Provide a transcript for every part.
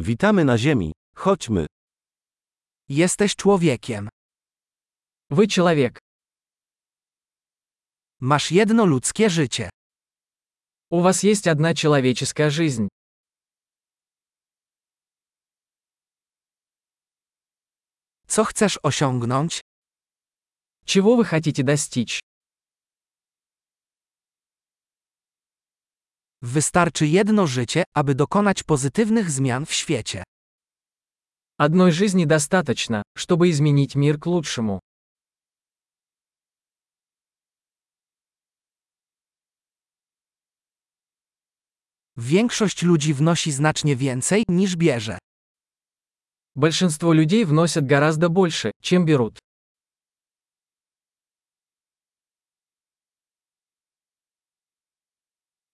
Witamy na Ziemi. Chodźmy. Jesteś człowiekiem. Вы человек. Masz jedno ludzkie życie. У вас есть одна человеческая жизнь. Co chcesz osiągnąć? Чего вы хотите достичь? Wystarczy jedno życie, aby dokonać pozytywnych zmian w świecie. Одной жизни достаточно, чтобы изменить мир к лучшему. Większość ludzi wnosi znacznie więcej niż bierze. Большинство людей вносят гораздо больше, чем берут.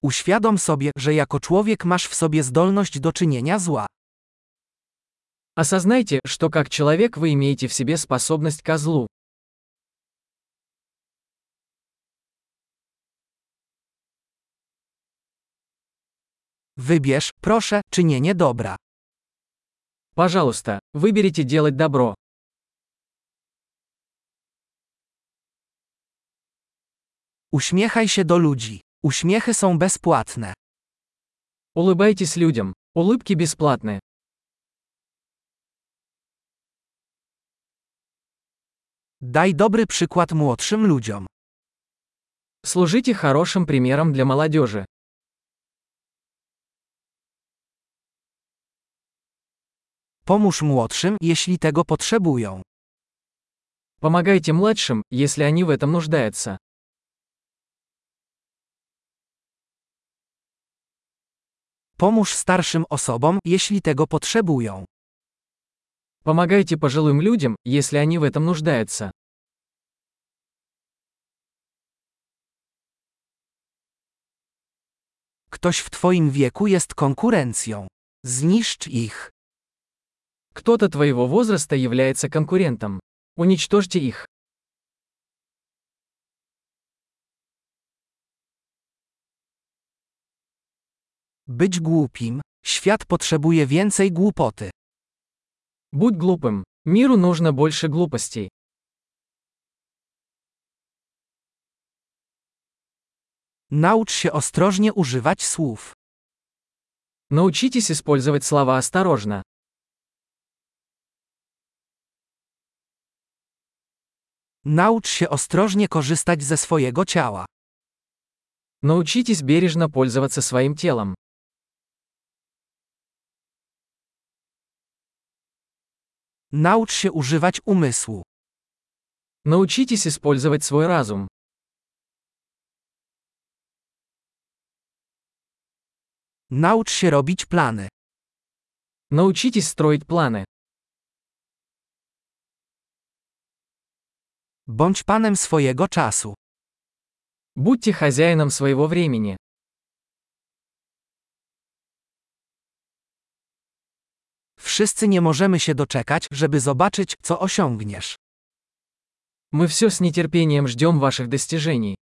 Uświadom sobie, że jako człowiek masz w sobie zdolność do czynienia zła. Осознайте, что как человек вы имеете в себе способность ко злу. Wybierz, proszę, czynienie dobra. Пожалуйста, выберите делать добро. Uśmiechaj się do ludzi. Uśmiechy są bezpłatne. Улыбайтесь людям. Улыбки бесплатны. Daj dobry przykład młodszym ludziom. Служите хорошим примером для молодежи. Pomóż młodszym, jeśli tego potrzebują. Помогайте младшим, если они в этом нуждаются. Pomóż starszym osobom, jeśli tego potrzebują. Помогайте пожилым людям, если они в этом нуждаются. Ktoś w Twoim wieku jest konkurencją. Zniszcz ich. Кто-то твоего возраста является конкурентом. Уничтожьте их. Być głupim. Świat potrzebuje więcej głupoty. Будь глупым. Миру нужно больше глупостей. Naucz się ostrożnie używać słów. Научитесь использовать слова осторожно. Naucz się ostrożnie korzystać ze swojego ciała. Научитесь бережно пользоваться своим телом. Naucz się używać umysłu. Научитесь использовать свой разум. Naucz się robić plany. Научитесь строить планы. Bądź panem swojego czasu. Будьте хозяином своего времени. Wszyscy nie możemy się doczekać, żeby zobaczyć, co osiągniesz. Мы все с нетерпением ждем ваших достижений.